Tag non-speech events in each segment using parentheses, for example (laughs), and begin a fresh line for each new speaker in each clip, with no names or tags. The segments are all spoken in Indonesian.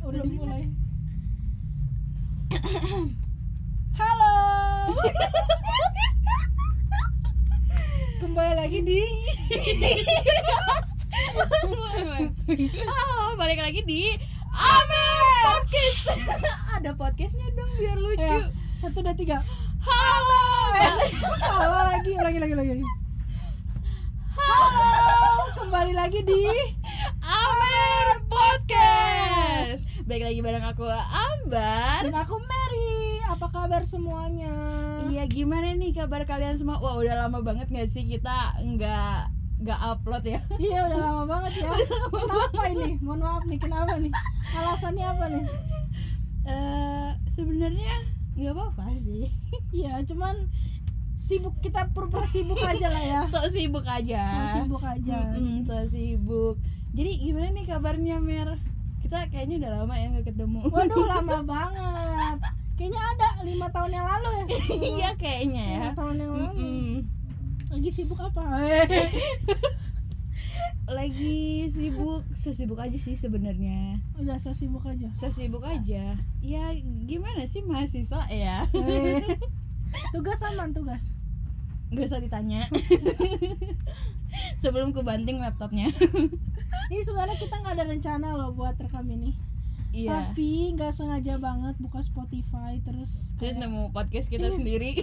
Oh,
Kembali lagi di
Oh, balik lagi di Amer Podcast. (laughs) Ada podcastnya dong biar lucu.
Ayo, Satu dua tiga
Iya. Halo.
Salah lagi, lagi, lagi, lagi lagi.
Halo.
Kembali lagi di
Amer Podcast. Balik lagi bareng aku Ambar.
Dan aku Mary Apa kabar semuanya?
Iya, gimana nih kabar kalian semua? Wah, udah lama banget nggak sih kita nggak nggak upload ya?
Iya udah lama banget ya Kenapa ini? Mohon maaf nih, kenapa nih? Alasannya apa nih?
Eh, sebenarnya nggak apa-apa sih.
Iya cuman sibuk kita pura-pura sibuk aja lah ya
Sok sibuk aja.
Sama sibuk aja
Mm-mm, so sibuk. Jadi gimana nih kabarnya Mer? Kita kayaknya udah lama ya nggak ketemu.
Waduh lama banget Kayaknya ada lima tahun yang lalu ya
(laughs) iya kayaknya ya.
Lima tahun yang lalu
Mm-mm.
Lagi sibuk apa?
Lagi sibuk, so sibuk aja sih sebenarnya.
Udah so sibuk aja
So sibuk aja. Ya gimana sih mahasiswa ya? (laughs)
Eh, (laughs) Tugas aman tugas
Gak usah ditanya. (laughs) Sebelum ku banting laptopnya.
(laughs) Ini sebenarnya kita nggak ada rencana loh buat rekam ini
Iya.
Tapi nggak sengaja banget buka Spotify Terus
Terus nemu podcast kita
Iya.
sendiri.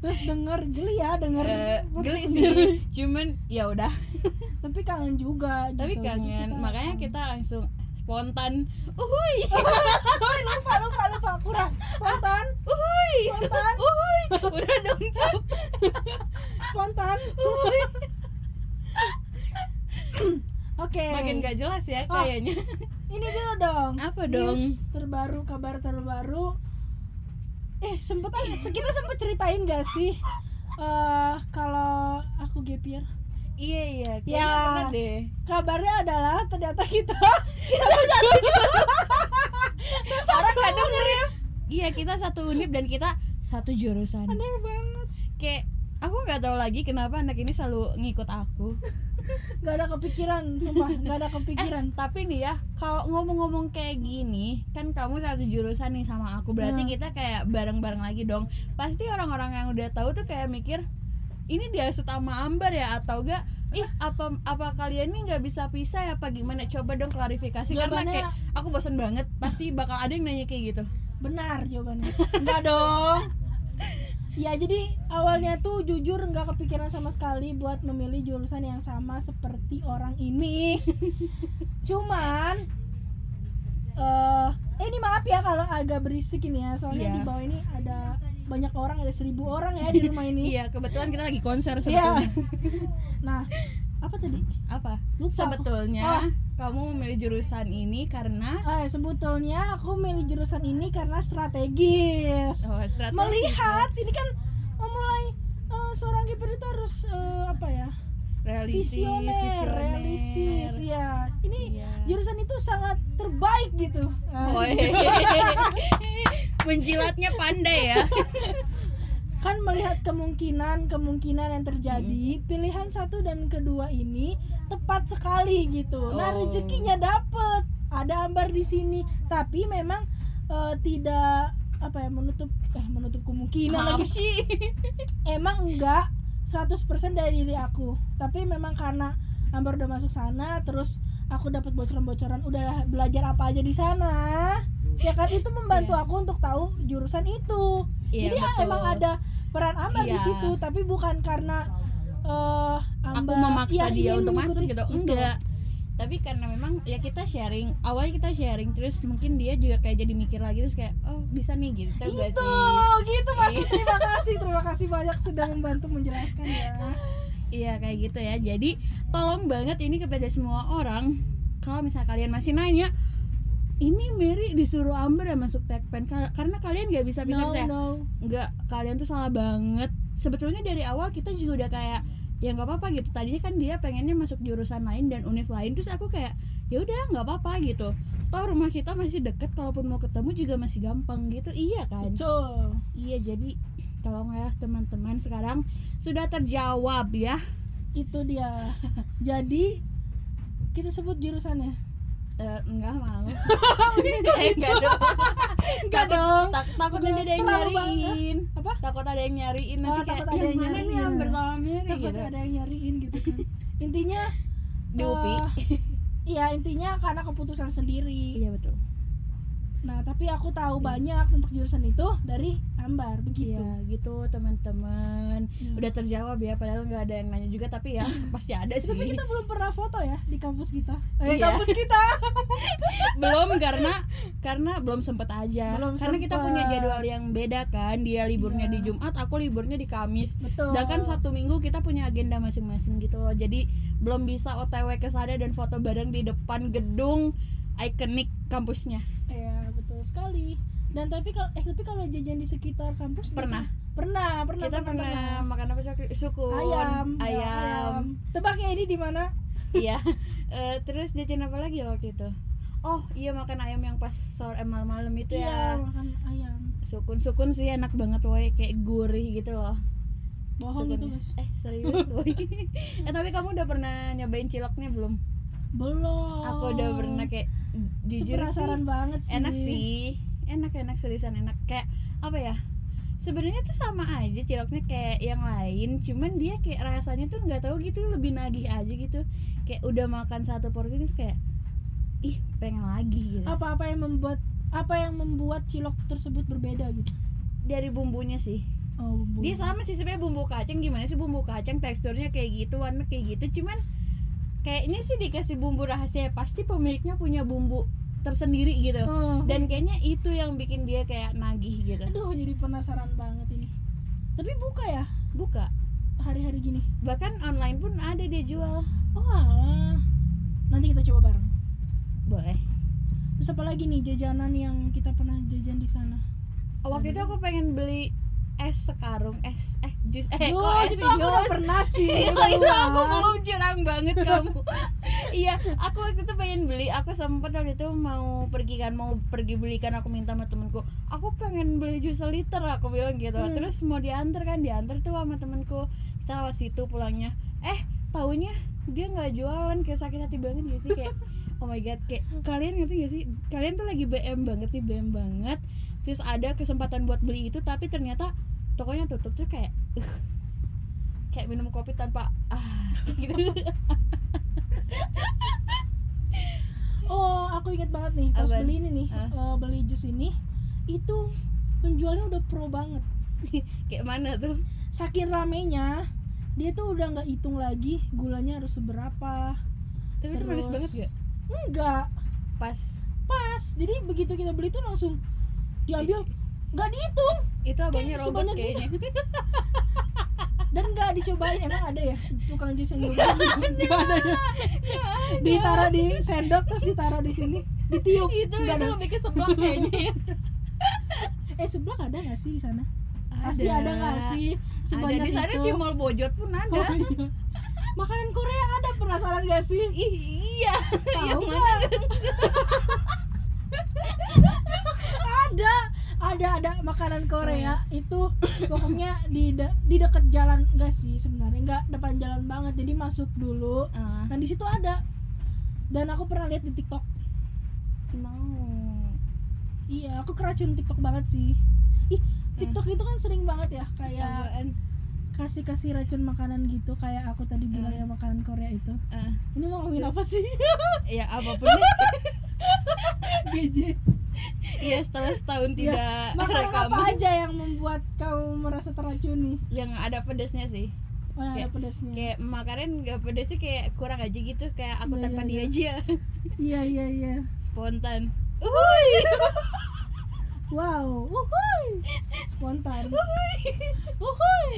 terus denger geli ya denger
(laughs) Eh,
podcast
geli
sendiri.
sih. Cuman ya udah.
Tapi kangen juga
tapi
gitu. Jadi
kangen
kita-
makanya
(laughs)
kita langsung spontan (laughs) uhuy
Oi, lupa lupa lupa kurang spontan
uhuy
Spontan.
uhuy udah (laughs) dong Cap.
spontan
uhuy
(laughs) Oke
makin gak jelas ya
Ah.
kayaknya
Ini dulu dong.
Apa dong?
News terbaru, kabar terbaru. Eh, sempet se- kita sempet ceritain gak sih eh kalau aku gapir?
iya iya
Ya.
kayaknya pernah deh
Kabarnya adalah ternyata
(laughs)
kita (laughs)
orang gak dengerin iya kita satu unip dan kita satu jurusan
aneh banget.
kayak aku nggak tahu lagi kenapa anak ini selalu ngikut aku
Gak ada kepikiran, sumpah, gak ada kepikiran.
Eh, tapi nih ya, kalau ngomong-ngomong kayak gini, kan kamu satu jurusan nih sama aku. Berarti
Hmm.
kita kayak bareng-bareng lagi dong. Pasti orang-orang yang udah tahu tuh kayak mikir, ini dia sama Ambar ya atau enggak? Ih, apa apa kalian nih nggak bisa pisah ya apa gimana? Coba dong klarifikasi karena
Jawabannya-
kayak aku bosan banget. Pasti bakal ada yang nanya kayak gitu.
Benar jawabannya. Enggak dong. Ya jadi awalnya tuh jujur nggak kepikiran sama sekali buat memilih jurusan yang sama seperti orang ini. Cuman eh eh, ini maaf ya kalau agak berisik ini ya soalnya
Iya.
di bawah ini ada banyak orang ada seribu orang
(laughs)
ya di rumah ini.
Iya, kebetulan kita lagi
Iya.
konser sebetulnya.
(laughs) Nah apa tadi?
Apa?
Lupa.
Sebetulnya
Oh.
kamu memilih jurusan ini karena
Eh, sebetulnya aku milih jurusan ini karena strategis.
oh, strategi.
melihat ini kan memulai eh, seorang kiper itu harus eh, apa ya
realistis,
visioner, realistis ya ini
Iya.
jurusan itu sangat terbaik gitu Ah,
Woi. (laughs) Menjilatnya pandai ya.
kan melihat kemungkinan kemungkinan yang terjadi pilihan satu dan kedua ini tepat sekali gitu nah
Oh.
rezekinya dapet ada ambar di sini tapi memang eh, tidak apa ya menutup eh menutup kemungkinan
Maaf
lagi
sih.
emang enggak 100% dari diri aku tapi memang karena Ambar udah masuk sana terus aku dapat bocoran-bocoran udah belajar apa aja di sana ya kan itu membantu aku untuk tahu jurusan itu
Iya,
jadi ah,
betul.
emang ada peran Ambar di
Iya.
situ tapi bukan karena eh
Aku
Ambar ya,
memaksa dia
ingin
untuk masuk
mengikuti.
gitu.
Betul.
Enggak. Tapi karena memang ya kita sharing, awalnya kita sharing terus mungkin dia juga kayak jadi mikir lagi terus kayak oh bisa nih gitu Tahu nggak
itu
sih. Iya.
gitu mas terima kasih terima kasih banyak sudah membantu menjelaskan ya
Iya kayak gitu ya. Jadi tolong banget ini kepada semua orang kalau misal kalian masih nanya ini Mary disuruh Amber ya masuk Tekpen Kal- karena kalian nggak bisa
no
bisa bisa
no
nggak kalian tuh salah banget sebetulnya dari awal kita juga udah kayak ya nggak apa-apa gitu tadinya kan dia pengennya masuk jurusan lain dan univ lain terus aku kayak ya udah nggak apa-apa gitu toh rumah kita masih deket kalaupun mau ketemu juga masih gampang gitu iya kan
betul
iya jadi tolong ya teman-teman sekarang sudah terjawab ya
(laughs) itu dia jadi kita sebut jurusannya
Eh, enggak
(laughs)
mau eh, enggak dong
Enggak dong.
Tak- takutnya
Udah
ada yang
terlalu
nyariin
Apa?
takut ada yang nyariin nanti
Oh,
kayak
takut ada
yang
yang
mana nih
nyariin."
yang bersama Mary
Takut
gitu
ada yang nyariin gitu
(laughs)
kan. intinya
Di UPI. (laughs)
eh, Iya intinya karena keputusan sendiri.
iya betul
Nah tapi aku tahu banyak tentang jurusan itu dari Ambar begitu.
Iya gitu teman-teman
Hmm.
udah terjawab ya padahal nggak ada yang nanya juga tapi ya (laughs) pasti ada sih
Eh, Tapi kita belum pernah foto ya di kampus kita. Eh,
Iya.
kampus kita.
(laughs) belum karena karena belum sempet aja
Belum
karena kita
sempet.
punya jadwal yang beda kan dia liburnya
Iya.
di Jumat aku liburnya di Kamis
Betul.
sedangkan satu minggu kita punya agenda masing-masing gitu loh jadi belum bisa OTW ke sana dan foto bareng di depan gedung ikonik kampusnya
Iya betul sekali. Dan tapi kalau eh tapi kalau jajan di sekitar kampus
Pernah.
gitu? Pernah, pernah.
kita
pernah,
pernah makan apa sih waktu- sukun
Ayam, ya,
ayam
Tebak ya ini di mana?
iya (laughs) Eh, terus jajan apa lagi ya waktu itu oh iya makan ayam yang pas sore eh, malam-malam itu ya
Iya, makan ayam.
sukun sukun sih enak banget woi kayak gurih gitu loh
Bohong itu,
Sebenarnya.
Guys.
eh serius (laughs) woi eh tapi kamu udah pernah nyobain ciloknya belum
Belum.
aku udah pernah kayak
Oh. Itu
jujur
penasaran
sih
banget sih.
enak sih enak enak seriusan enak kayak apa ya sebenarnya tuh sama aja ciloknya kayak yang lain cuman dia kayak rasanya tuh nggak tahu gitu lebih nagih aja gitu kayak udah makan satu porsi itu kayak ih pengen lagi gitu
Apa-apa yang membuat apa yang membuat cilok tersebut berbeda gitu?
dari bumbunya sih
Oh, bumbu.
dia sama sih sebenarnya bumbu kacang gimana sih bumbu kacang teksturnya kayak gitu warna kayak gitu cuman kayaknya sih dikasih bumbu rahasia pasti pemiliknya punya bumbu tersendiri gitu
Oh.
dan kayaknya itu yang bikin dia kayak nagih gitu
Aduh, jadi penasaran banget ini. Tapi buka ya
buka
hari-hari gini.
bahkan online pun ada dia jual
Oh, alah. Nanti kita coba bareng.
boleh
Terus apa lagi nih jajanan yang kita pernah jajan di sana?
waktu itu aku pengen beli es sekarung es eh jus eh kok es
Jus, itu aku
jus?
udah pernah sih.
Gila,
keluar.
(laughs) itu aku belum curang banget kamu iya aku waktu itu pengen beli aku sempet waktu itu mau pergi kan mau pergi belikan aku minta sama temenku aku pengen beli jus liter aku bilang gitu
Hmm.
terus mau diantar kan diantar tuh sama temenku kita lewat situ pulangnya eh taunya dia nggak jualan kayak sakit hati banget gak sih kayak (laughs) oh my god kayak kalian ngerti gak sih kalian tuh lagi BM banget nih BM banget terus ada kesempatan buat beli itu tapi ternyata tokonya tutup tuh kayak (laughs) "Ugh." kayak minum kopi tanpa ah (laughs) gitu
Oh, aku ingat banget nih pas
Apa?
beli ini nih,
Ah.
eh, beli jus ini itu penjualnya udah pro banget.
kayak mana tuh
Saking ramenya, dia tuh udah nggak hitung lagi gulanya harus seberapa.
tapi itu manis
Terus-
banget gak
Enggak,
pas
pas. Jadi begitu kita beli tuh langsung diambil nggak dihitung
itu abangnya
Kayak
robot
sebanyak gitu.
kayaknya (laughs)
(laughs) dan nggak dicobain emang ada ya tukang jus
(laughs)
yang nyoba ada ya (laughs) ditaruh di sendok terus ditaruh di sini ditiup
itu
Nggak
itu
ada.
lebih ke sebelah kayaknya
eh sebelah ada nggak sih di sana (laughs) pasti ada nggak sih
ada
sebanyak
di sana
itu
di mall bojot
Oh,
pun ada
iya. makanan Korea ada penasaran gak sih
(laughs) Ih, iya yang
Tahu (laughs)
mana (laughs)
ada ada ada makanan
Oh, iya.
Korea itu pokoknya di de- di dekat jalan enggak sih sebenarnya enggak depan jalan banget jadi masuk dulu
Ah,
nah di situ ada dan aku pernah lihat di TikTok
mau
iya aku keracun TikTok banget sih
Eh.
ih TikTok itu kan sering banget ya kayak
apaan
kasih kasih racun makanan gitu kayak aku tadi bilang
Eh.
ya makanan Korea itu
Ah,
ini mau ngomongin apa sih (laughs)
ya apapun deh.
GJ
Iya setelah setahun
Iya.
tidak
makanan
rekaman
apa aja yang membuat kamu merasa teracuni
yang ada pedasnya sih
oh, yang ada
Kayak-
pedasnya
kayak makanan nggak pedas tuh kayak kurang aja gitu kayak aku
Iya,
tanpa
iya,
dia aja (laughs)
iya iya iya (laughs)
spontan uhuy
wow uhuy spontan
uhuy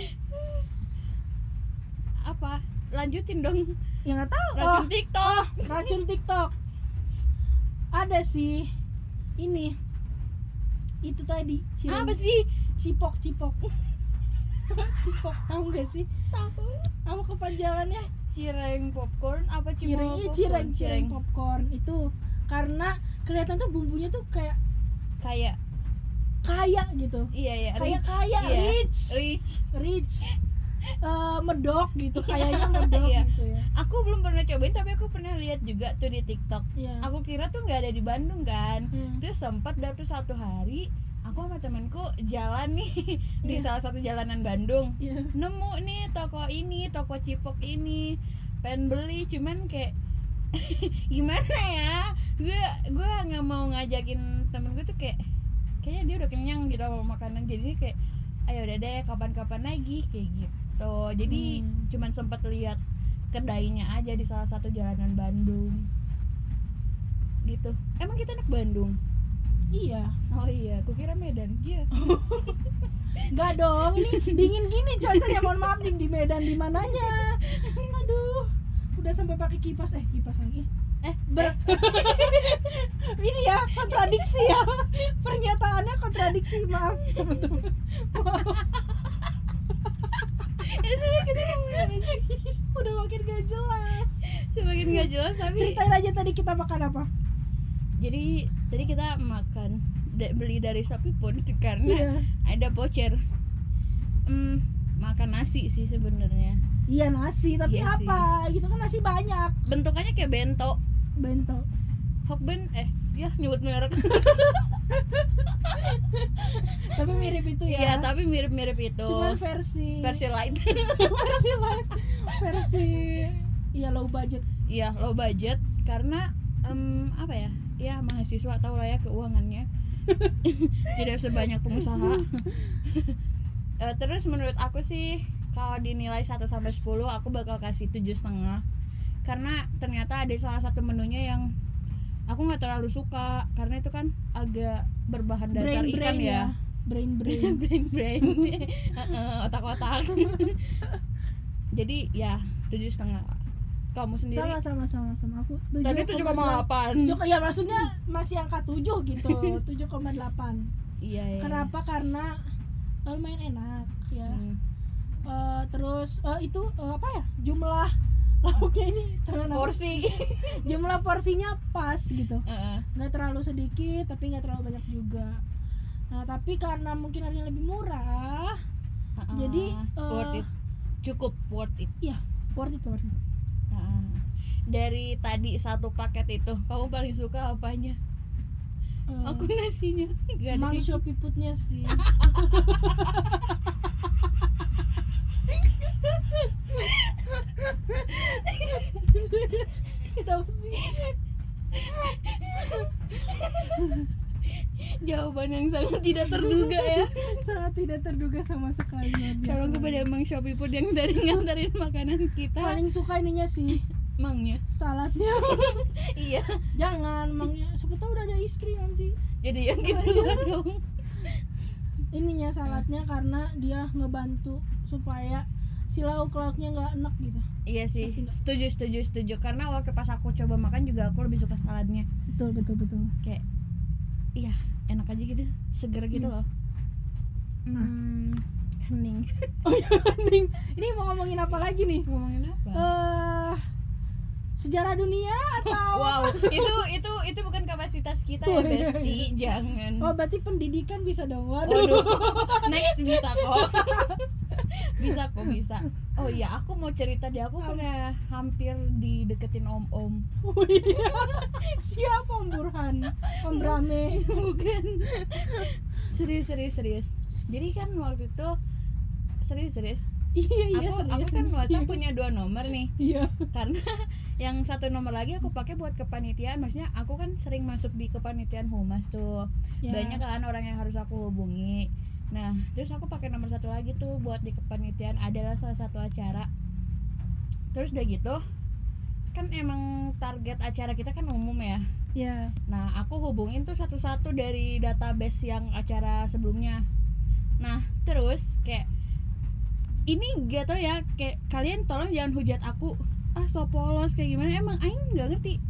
(laughs) apa lanjutin dong
ya nggak tahu
racun
oh
tiktok
racun TikTok ada sih ini itu tadi cireng-
apa sih
cipok cipok (laughs) cipok tahu gak sih
tahu
apa kepanjangannya
cireng popcorn apa cimol
cireng iya
popcorn?
cireng cireng popcorn itu karena kelihatan tuh bumbunya tuh kayak
kayak
kaya gitu
iya iya
kayak
rich
kaya
Iya.
rich
rich
rich eh, medok gitu kayaknya medok
Iya.
gitu ya
aku belum pernah cobain tapi aku pernah lihat juga tuh di TikTok
Iya.
aku kira tuh nggak ada di Bandung kan
Hmm.
terus sempat dah tuh satu hari aku sama temenku jalan nih (laughs) di
Iya.
salah satu jalanan Bandung
Iya.
nemu nih toko ini toko cipok ini pengen beli cuman kayak (laughs) gimana ya gue gue nggak mau ngajakin temen gue tuh kayak kayaknya dia udah kenyang gitu sama makanan jadi kayak ayo udah deh kapan-kapan lagi kayak gitu jadi
Hmm.
cuman sempat lihat kedainya aja di salah satu jalanan Bandung gitu emang kita anak Bandung
iya
oh iya aku kira Medan aja
nggak dong ini dingin gini cuacanya mohon maaf di, di Medan di mananya aduh udah sampai pakai kipas eh kipas lagi
eh (laughs)
Ber- ini ya kontradiksi ya pernyataannya kontradiksi maaf
Iya.
teman-teman
itu kita ngomongin.
udah makin gak jelas
semakin nggak jelas tapi
ceritain aja tadi kita makan apa
jadi tadi kita makan da- beli dari Shopee pun (laughs)
Iya.
karena ada voucher Hmm, makan nasi sih sebenarnya
iya nasi tapi
Iya sih.
apa gitu kan nasi banyak
bentukannya kayak bento
bento
Hokben eh ya nyebut
(laughs)
merek
tapi mirip itu
ya,
ya,
tapi mirip-mirip itu
cuman versi (laughs)
versi light
versi light versi iya low budget
Iya low budget karena em, apa ya ya mahasiswa tau lah ya keuangannya (laughs) tidak sebanyak pengusaha Eh, terus menurut aku sih kalau dinilai 1 sampai 10 aku bakal kasih tujuh setengah karena ternyata ada salah satu menunya yang aku nggak terlalu suka karena itu kan agak berbahan dasar
brain
ikan
brain
(laughs) ya,
brain brain
brain brain (laughs) Heeh, otak-otak jadi ya tujuh setengah kamu sendiri
sama sama sama sama aku
Tadi 7,8.
7, ya maksudnya masih angka 7
(laughs)
gitu 7,8
Iya. iya.
kenapa karena eh, lumayan enak ya
Hmm.
Eh, terus eh, itu eh, apa ya jumlah lauknya ini terlalu-
Porsi.
jumlah porsinya pas gitu
(laughs) Heeh.
nggak terlalu sedikit tapi nggak terlalu banyak juga nah tapi karena mungkin harganya lebih murah
Heeh.
Jadi,
worth
eh,
it. Cukup worth it.
ya worth it worth it
Heeh. Dari tadi satu paket itu, kamu paling suka apanya?
Eh,
Aku nasinya. Gak
Emang
ada. gitu.
Shopee putnya sih Kenapa sih?
Jawaban yang sangat tidak terduga (laughs) ya.
Sangat tidak terduga sama sekali luar biasa.
Kalau kepada Mang Shopee Food yang (laughs) tadi nganterin makanan kita,
Paling suka ininya sih
Mangnya.
Saladnya
Iya.
Jangan mangnya Siapa tahu udah ada istri nanti
Jadi (laughs) yang kita duluan dong.
Ininya saladnya karena dia ngebantu Supaya si lauk lauknya nggak enak gitu
Iya sih. Setuju, setuju, setuju. Karena waktu pas aku coba makan juga aku lebih suka saladnya.
Betul betul betul
kayak iya enak aja gitu seger gitu
Hmm. Nah.
loh hmm,
(laughs)
hening
Oh iya Ning. Ini mau ngomongin apa lagi nih?
ngomongin apa
eh sejarah dunia atau
(laughs) wow itu itu itu bukan kapasitas kita
Oh,
ya
iya,
besti jangan
oh berarti pendidikan bisa dong waduh
waduh next bisa
(laughs)
kok bisa kok bisa oh iya aku mau cerita deh aku
Apa?
pernah hampir dideketin om om
(laughs) Oh iya. siapa om Burhan om Brame
bukan serius serius serius jadi kan waktu itu serius serius
iya iya
aku aku
serius,
kan
serius.
WhatsApp punya dua nomor nih
iya
karena yang satu nomor lagi aku pakai buat kepanitiaan maksudnya aku kan sering masuk di kepanitiaan humas tuh
Ya.
(laughs) banyak kan orang yang harus aku hubungi nah terus aku pakai nomor satu lagi tuh buat di kepanitiaan adalah salah satu acara terus udah gitu kan emang target acara kita kan umum ya
iya
Nah, aku hubungin tuh satu-satu dari database yang acara sebelumnya. Nah, terus kayak ini gak tau ya, kayak kalian tolong jangan hujat aku. Ah, so polos kayak gimana? Emang aing nggak ngerti.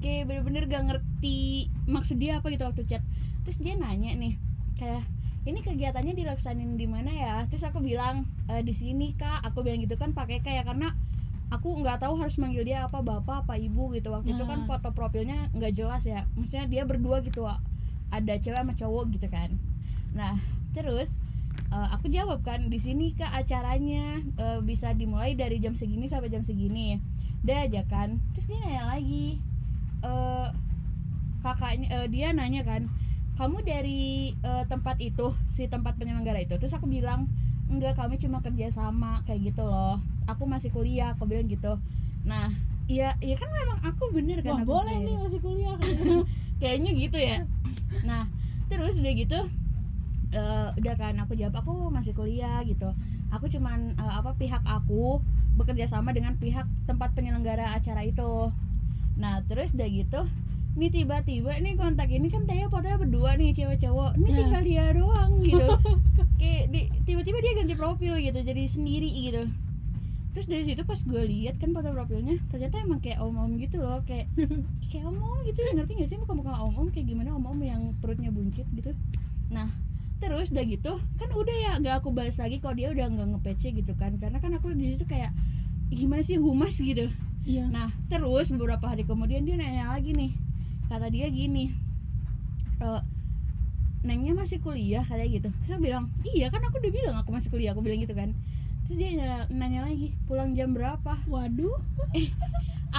Kayak bener-bener gak ngerti maksud dia apa gitu waktu chat. Terus dia nanya nih, kayak ini kegiatannya dilaksanin di mana ya? Terus aku bilang "E, di sini kak. Aku bilang gitu kan pakai kayak karena aku nggak tahu harus manggil dia apa bapak apa ibu gitu waktu itu kan
Nah.
foto profilnya nggak jelas ya maksudnya dia berdua gitu Wak. ada cewek sama cowok gitu kan nah terus eh, aku jawab kan di sini kak acaranya eh, bisa dimulai dari jam segini sampai jam segini udah aja kan terus dia nanya lagi eh kakaknya eh, dia nanya kan kamu dari eh, tempat itu si tempat penyelenggara itu terus aku bilang enggak kami cuma kerja sama kayak gitu loh aku masih kuliah aku bilang gitu nah iya iya kan memang aku bener kan
Wah,
aku
boleh
sendiri
nih masih
(laughs)
kuliah kan.
kayaknya gitu ya nah terus udah gitu eh, udah kan aku jawab aku masih kuliah gitu aku cuman eh, apa pihak aku bekerja sama dengan pihak tempat penyelenggara acara itu nah terus udah gitu nih tiba-tiba nih kontak ini kan Taya fotonya berdua nih cewek cowok ini
Ya.
tinggal dia doang gitu kayak di- tiba-tiba dia ganti profil gitu jadi sendiri gitu terus dari situ pas gue lihat kan foto profilnya ternyata emang kayak om-om gitu loh kayak Ih, kayak om-om gitu ngerti gak sih muka-muka om-om kayak gimana om-om yang perutnya buncit gitu nah terus udah gitu kan udah ya gak aku bahas lagi kalau dia udah nggak ngepece gitu kan karena kan aku di situ kayak "Ih, gimana sih humas gitu
Iya.
Nah, terus beberapa hari kemudian dia nanya lagi nih. Kata dia gini. "Eh, Nengnya masih kuliah katanya gitu. Terus Saya bilang, "Iya, kan aku udah bilang aku masih kuliah." Aku bilang gitu kan. Terus dia nanya, nanya lagi, "Pulang jam berapa?"
Waduh.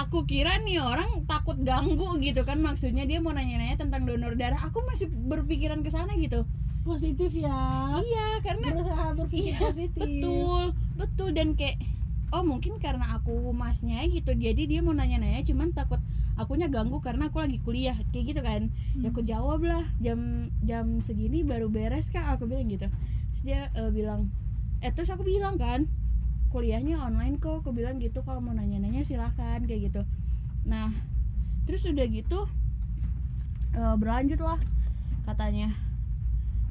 Aku kira nih orang takut ganggu gitu kan maksudnya dia mau nanya-nanya tentang donor darah. Aku masih berpikiran ke sana gitu.
Positif ya.
Iya, karena
Berusaha berpikir
Iya,
positif.
betul betul dan kayak oh mungkin karena aku masnya gitu jadi dia mau nanya-nanya cuman takut akunya ganggu karena aku lagi kuliah kayak gitu kan ya
Hmm.
aku jawab lah jam jam segini baru beres kak aku bilang gitu terus dia eh, bilang eh terus aku bilang kan kuliahnya online kok aku bilang gitu kalau mau nanya-nanya silahkan kayak gitu nah terus udah gitu eh, berlanjut lah katanya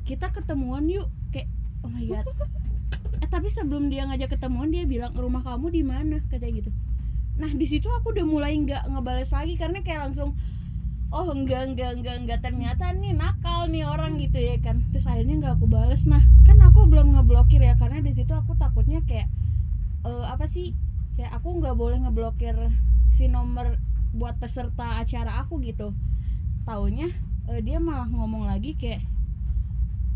kita ketemuan yuk kayak oh my god eh, tapi sebelum dia ngajak ketemuan dia bilang rumah kamu di mana katanya gitu nah di situ aku udah mulai nggak ngebales lagi karena kayak langsung oh enggak enggak enggak enggak ternyata nih nakal nih orang gitu ya kan terus akhirnya nggak aku bales nah kan aku belum ngeblokir ya karena di situ aku takutnya kayak eh, apa sih kayak aku nggak boleh ngeblokir si nomor buat peserta acara aku gitu taunya eh, dia malah ngomong lagi kayak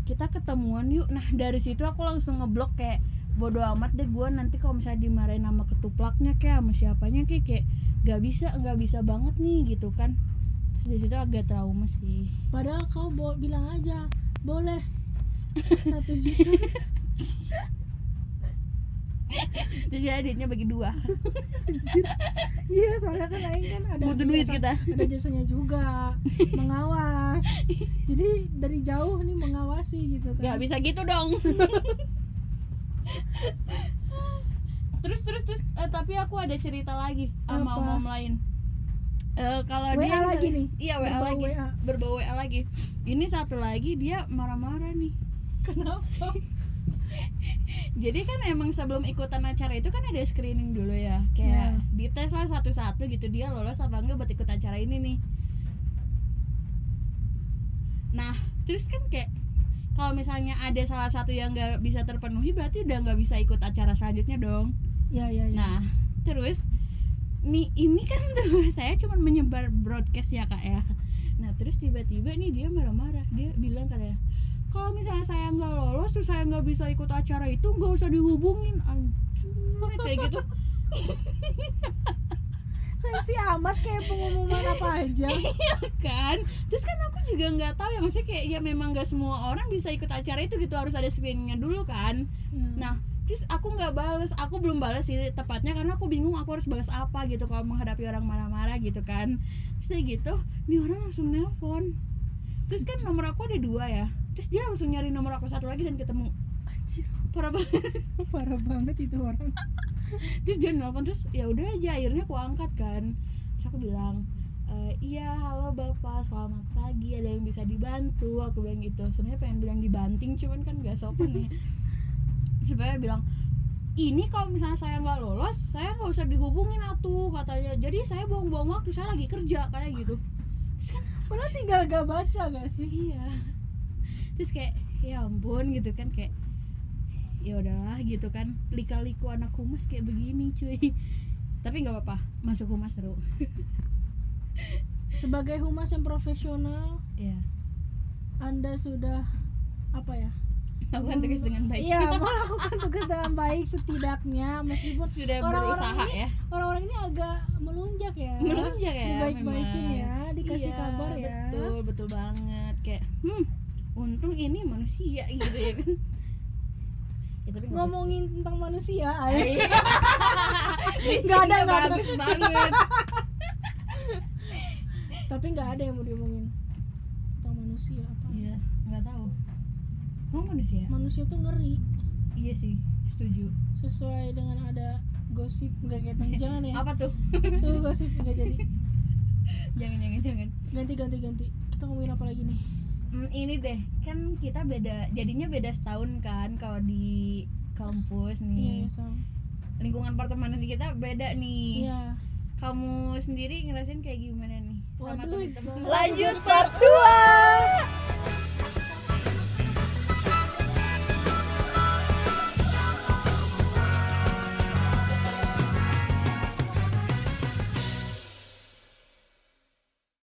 kita ketemuan yuk nah dari situ aku langsung ngeblok kayak bodo amat deh gue nanti kalau misalnya dimarahin sama ketuplaknya kayak sama siapanya kayak kayak gak bisa nggak bisa banget nih gitu kan terus di situ agak trauma sih
Padahal kau bo- bilang aja
(laughs)
boleh satu juta.
terus ya duitnya bagi dua
Iya soalnya kan Aing kan ada
butuh duit
jasa-
kita
ada jasanya
(laughs)
juga mengawas. Jadi dari jauh nih mengawasi gitu
nggak
kan.
bisa gitu (laughs) dong terus terus terus eh, tapi aku ada cerita lagi sama
Apa?
om lain Eh, kalau
WA
dia
lagi nih?
iya WA
Berbau
lagi
WA.
berbau WA lagi ini satu lagi dia marah-marah nih
Kenapa?
jadi kan emang sebelum ikutan acara itu kan ada screening dulu ya kayak dites lah satu-satu gitu dia lolos apa enggak buat ikut acara ini nih nah terus kan kayak kalau misalnya ada salah satu yang nggak bisa terpenuhi berarti udah nggak bisa ikut acara selanjutnya dong
Ya ya ya.
nah terus nih ini kan (laughs) tuh saya cuma menyebar broadcast ya kak ya nah terus tiba-tiba nih dia marah-marah dia bilang katanya kalau misalnya saya nggak lolos terus saya nggak bisa ikut acara itu nggak usah dihubungin Anjir, kayak gitu
Sensi amat kayak pengumuman apa aja.
(laughs) kan terus kan aku juga nggak tahu ya maksudnya kayak ya memang nggak semua orang bisa ikut acara itu gitu harus ada screeningnya dulu kan
Ya.
Nah, terus aku nggak bales, aku belum bales sih tepatnya karena aku bingung aku harus balas apa gitu kalau menghadapi orang marah-marah gitu kan. Terus dia gitu, nih orang langsung nelpon. Terus kan nomor aku ada dua ya. Terus dia langsung nyari nomor aku satu lagi dan ketemu.
Anjir,
Parah banget.
parah banget itu orang.
Terus dia nelpon terus ya udah aja akhirnya aku angkat kan. Terus aku bilang, "Eh, iya halo bapak selamat pagi ada yang bisa dibantu aku bilang gitu sebenarnya pengen bilang dibanting cuman kan gak sopan ya sebenarnya bilang ini kalau misalnya saya nggak lolos saya nggak usah dihubungin atuh katanya jadi saya buang-buang waktu saya lagi kerja kayak gitu terus kan
Malah tinggal gak baca gak sih?
iya (laughs) terus kayak ya ampun gitu kan kayak ya udahlah gitu kan lika-liku anak humas kayak begini cuy (laughs) tapi nggak apa-apa masuk humas seru
Sebagai
Iya.
humas yang profesional,
ya
Anda sudah apa ya?
melakukan kan tugas dengan baik (laughs)
Iya, melakukan tugas dengan baik setidaknya meskipun
sudah
orang-orang
berusaha
ini, (laughs)
ya
orang-orang ini agak melunjak ya.
melunjak ya
Dibaik-baikin
memang.
ya, dikasih
Iya,
kabar ya.
betul betul banget kayak hmm untung ini manusia (laughs) gitu ya kan ya, tapi nggak
Ngomongin tentang manusia,
bisa. (laughs)
ay.
Iya.
Nggak ada, nggak ada.
bagus banget
tapi nggak ada yang mau diomongin tentang manusia apa.
iya nggak tahu kamu manusia
Manusia tuh ngeri
ya? iya sih setuju
sesuai dengan ada gosip nggak kayak tadi. jangan ya
apa tuh
tuh gosip nggak jadi
jangan jangan jangan
ganti ganti ganti kita ngomongin apa lagi nih
Hmm, ini deh kan kita beda jadinya beda setahun kan kalau di
iya
kampus Hmm. nih
iya Sam.
lingkungan pertemanan kita beda nih
iya
kamu sendiri ngerasain kayak gimana nih sama
Waduh,
teman-teman
jangan.
lanjut part 2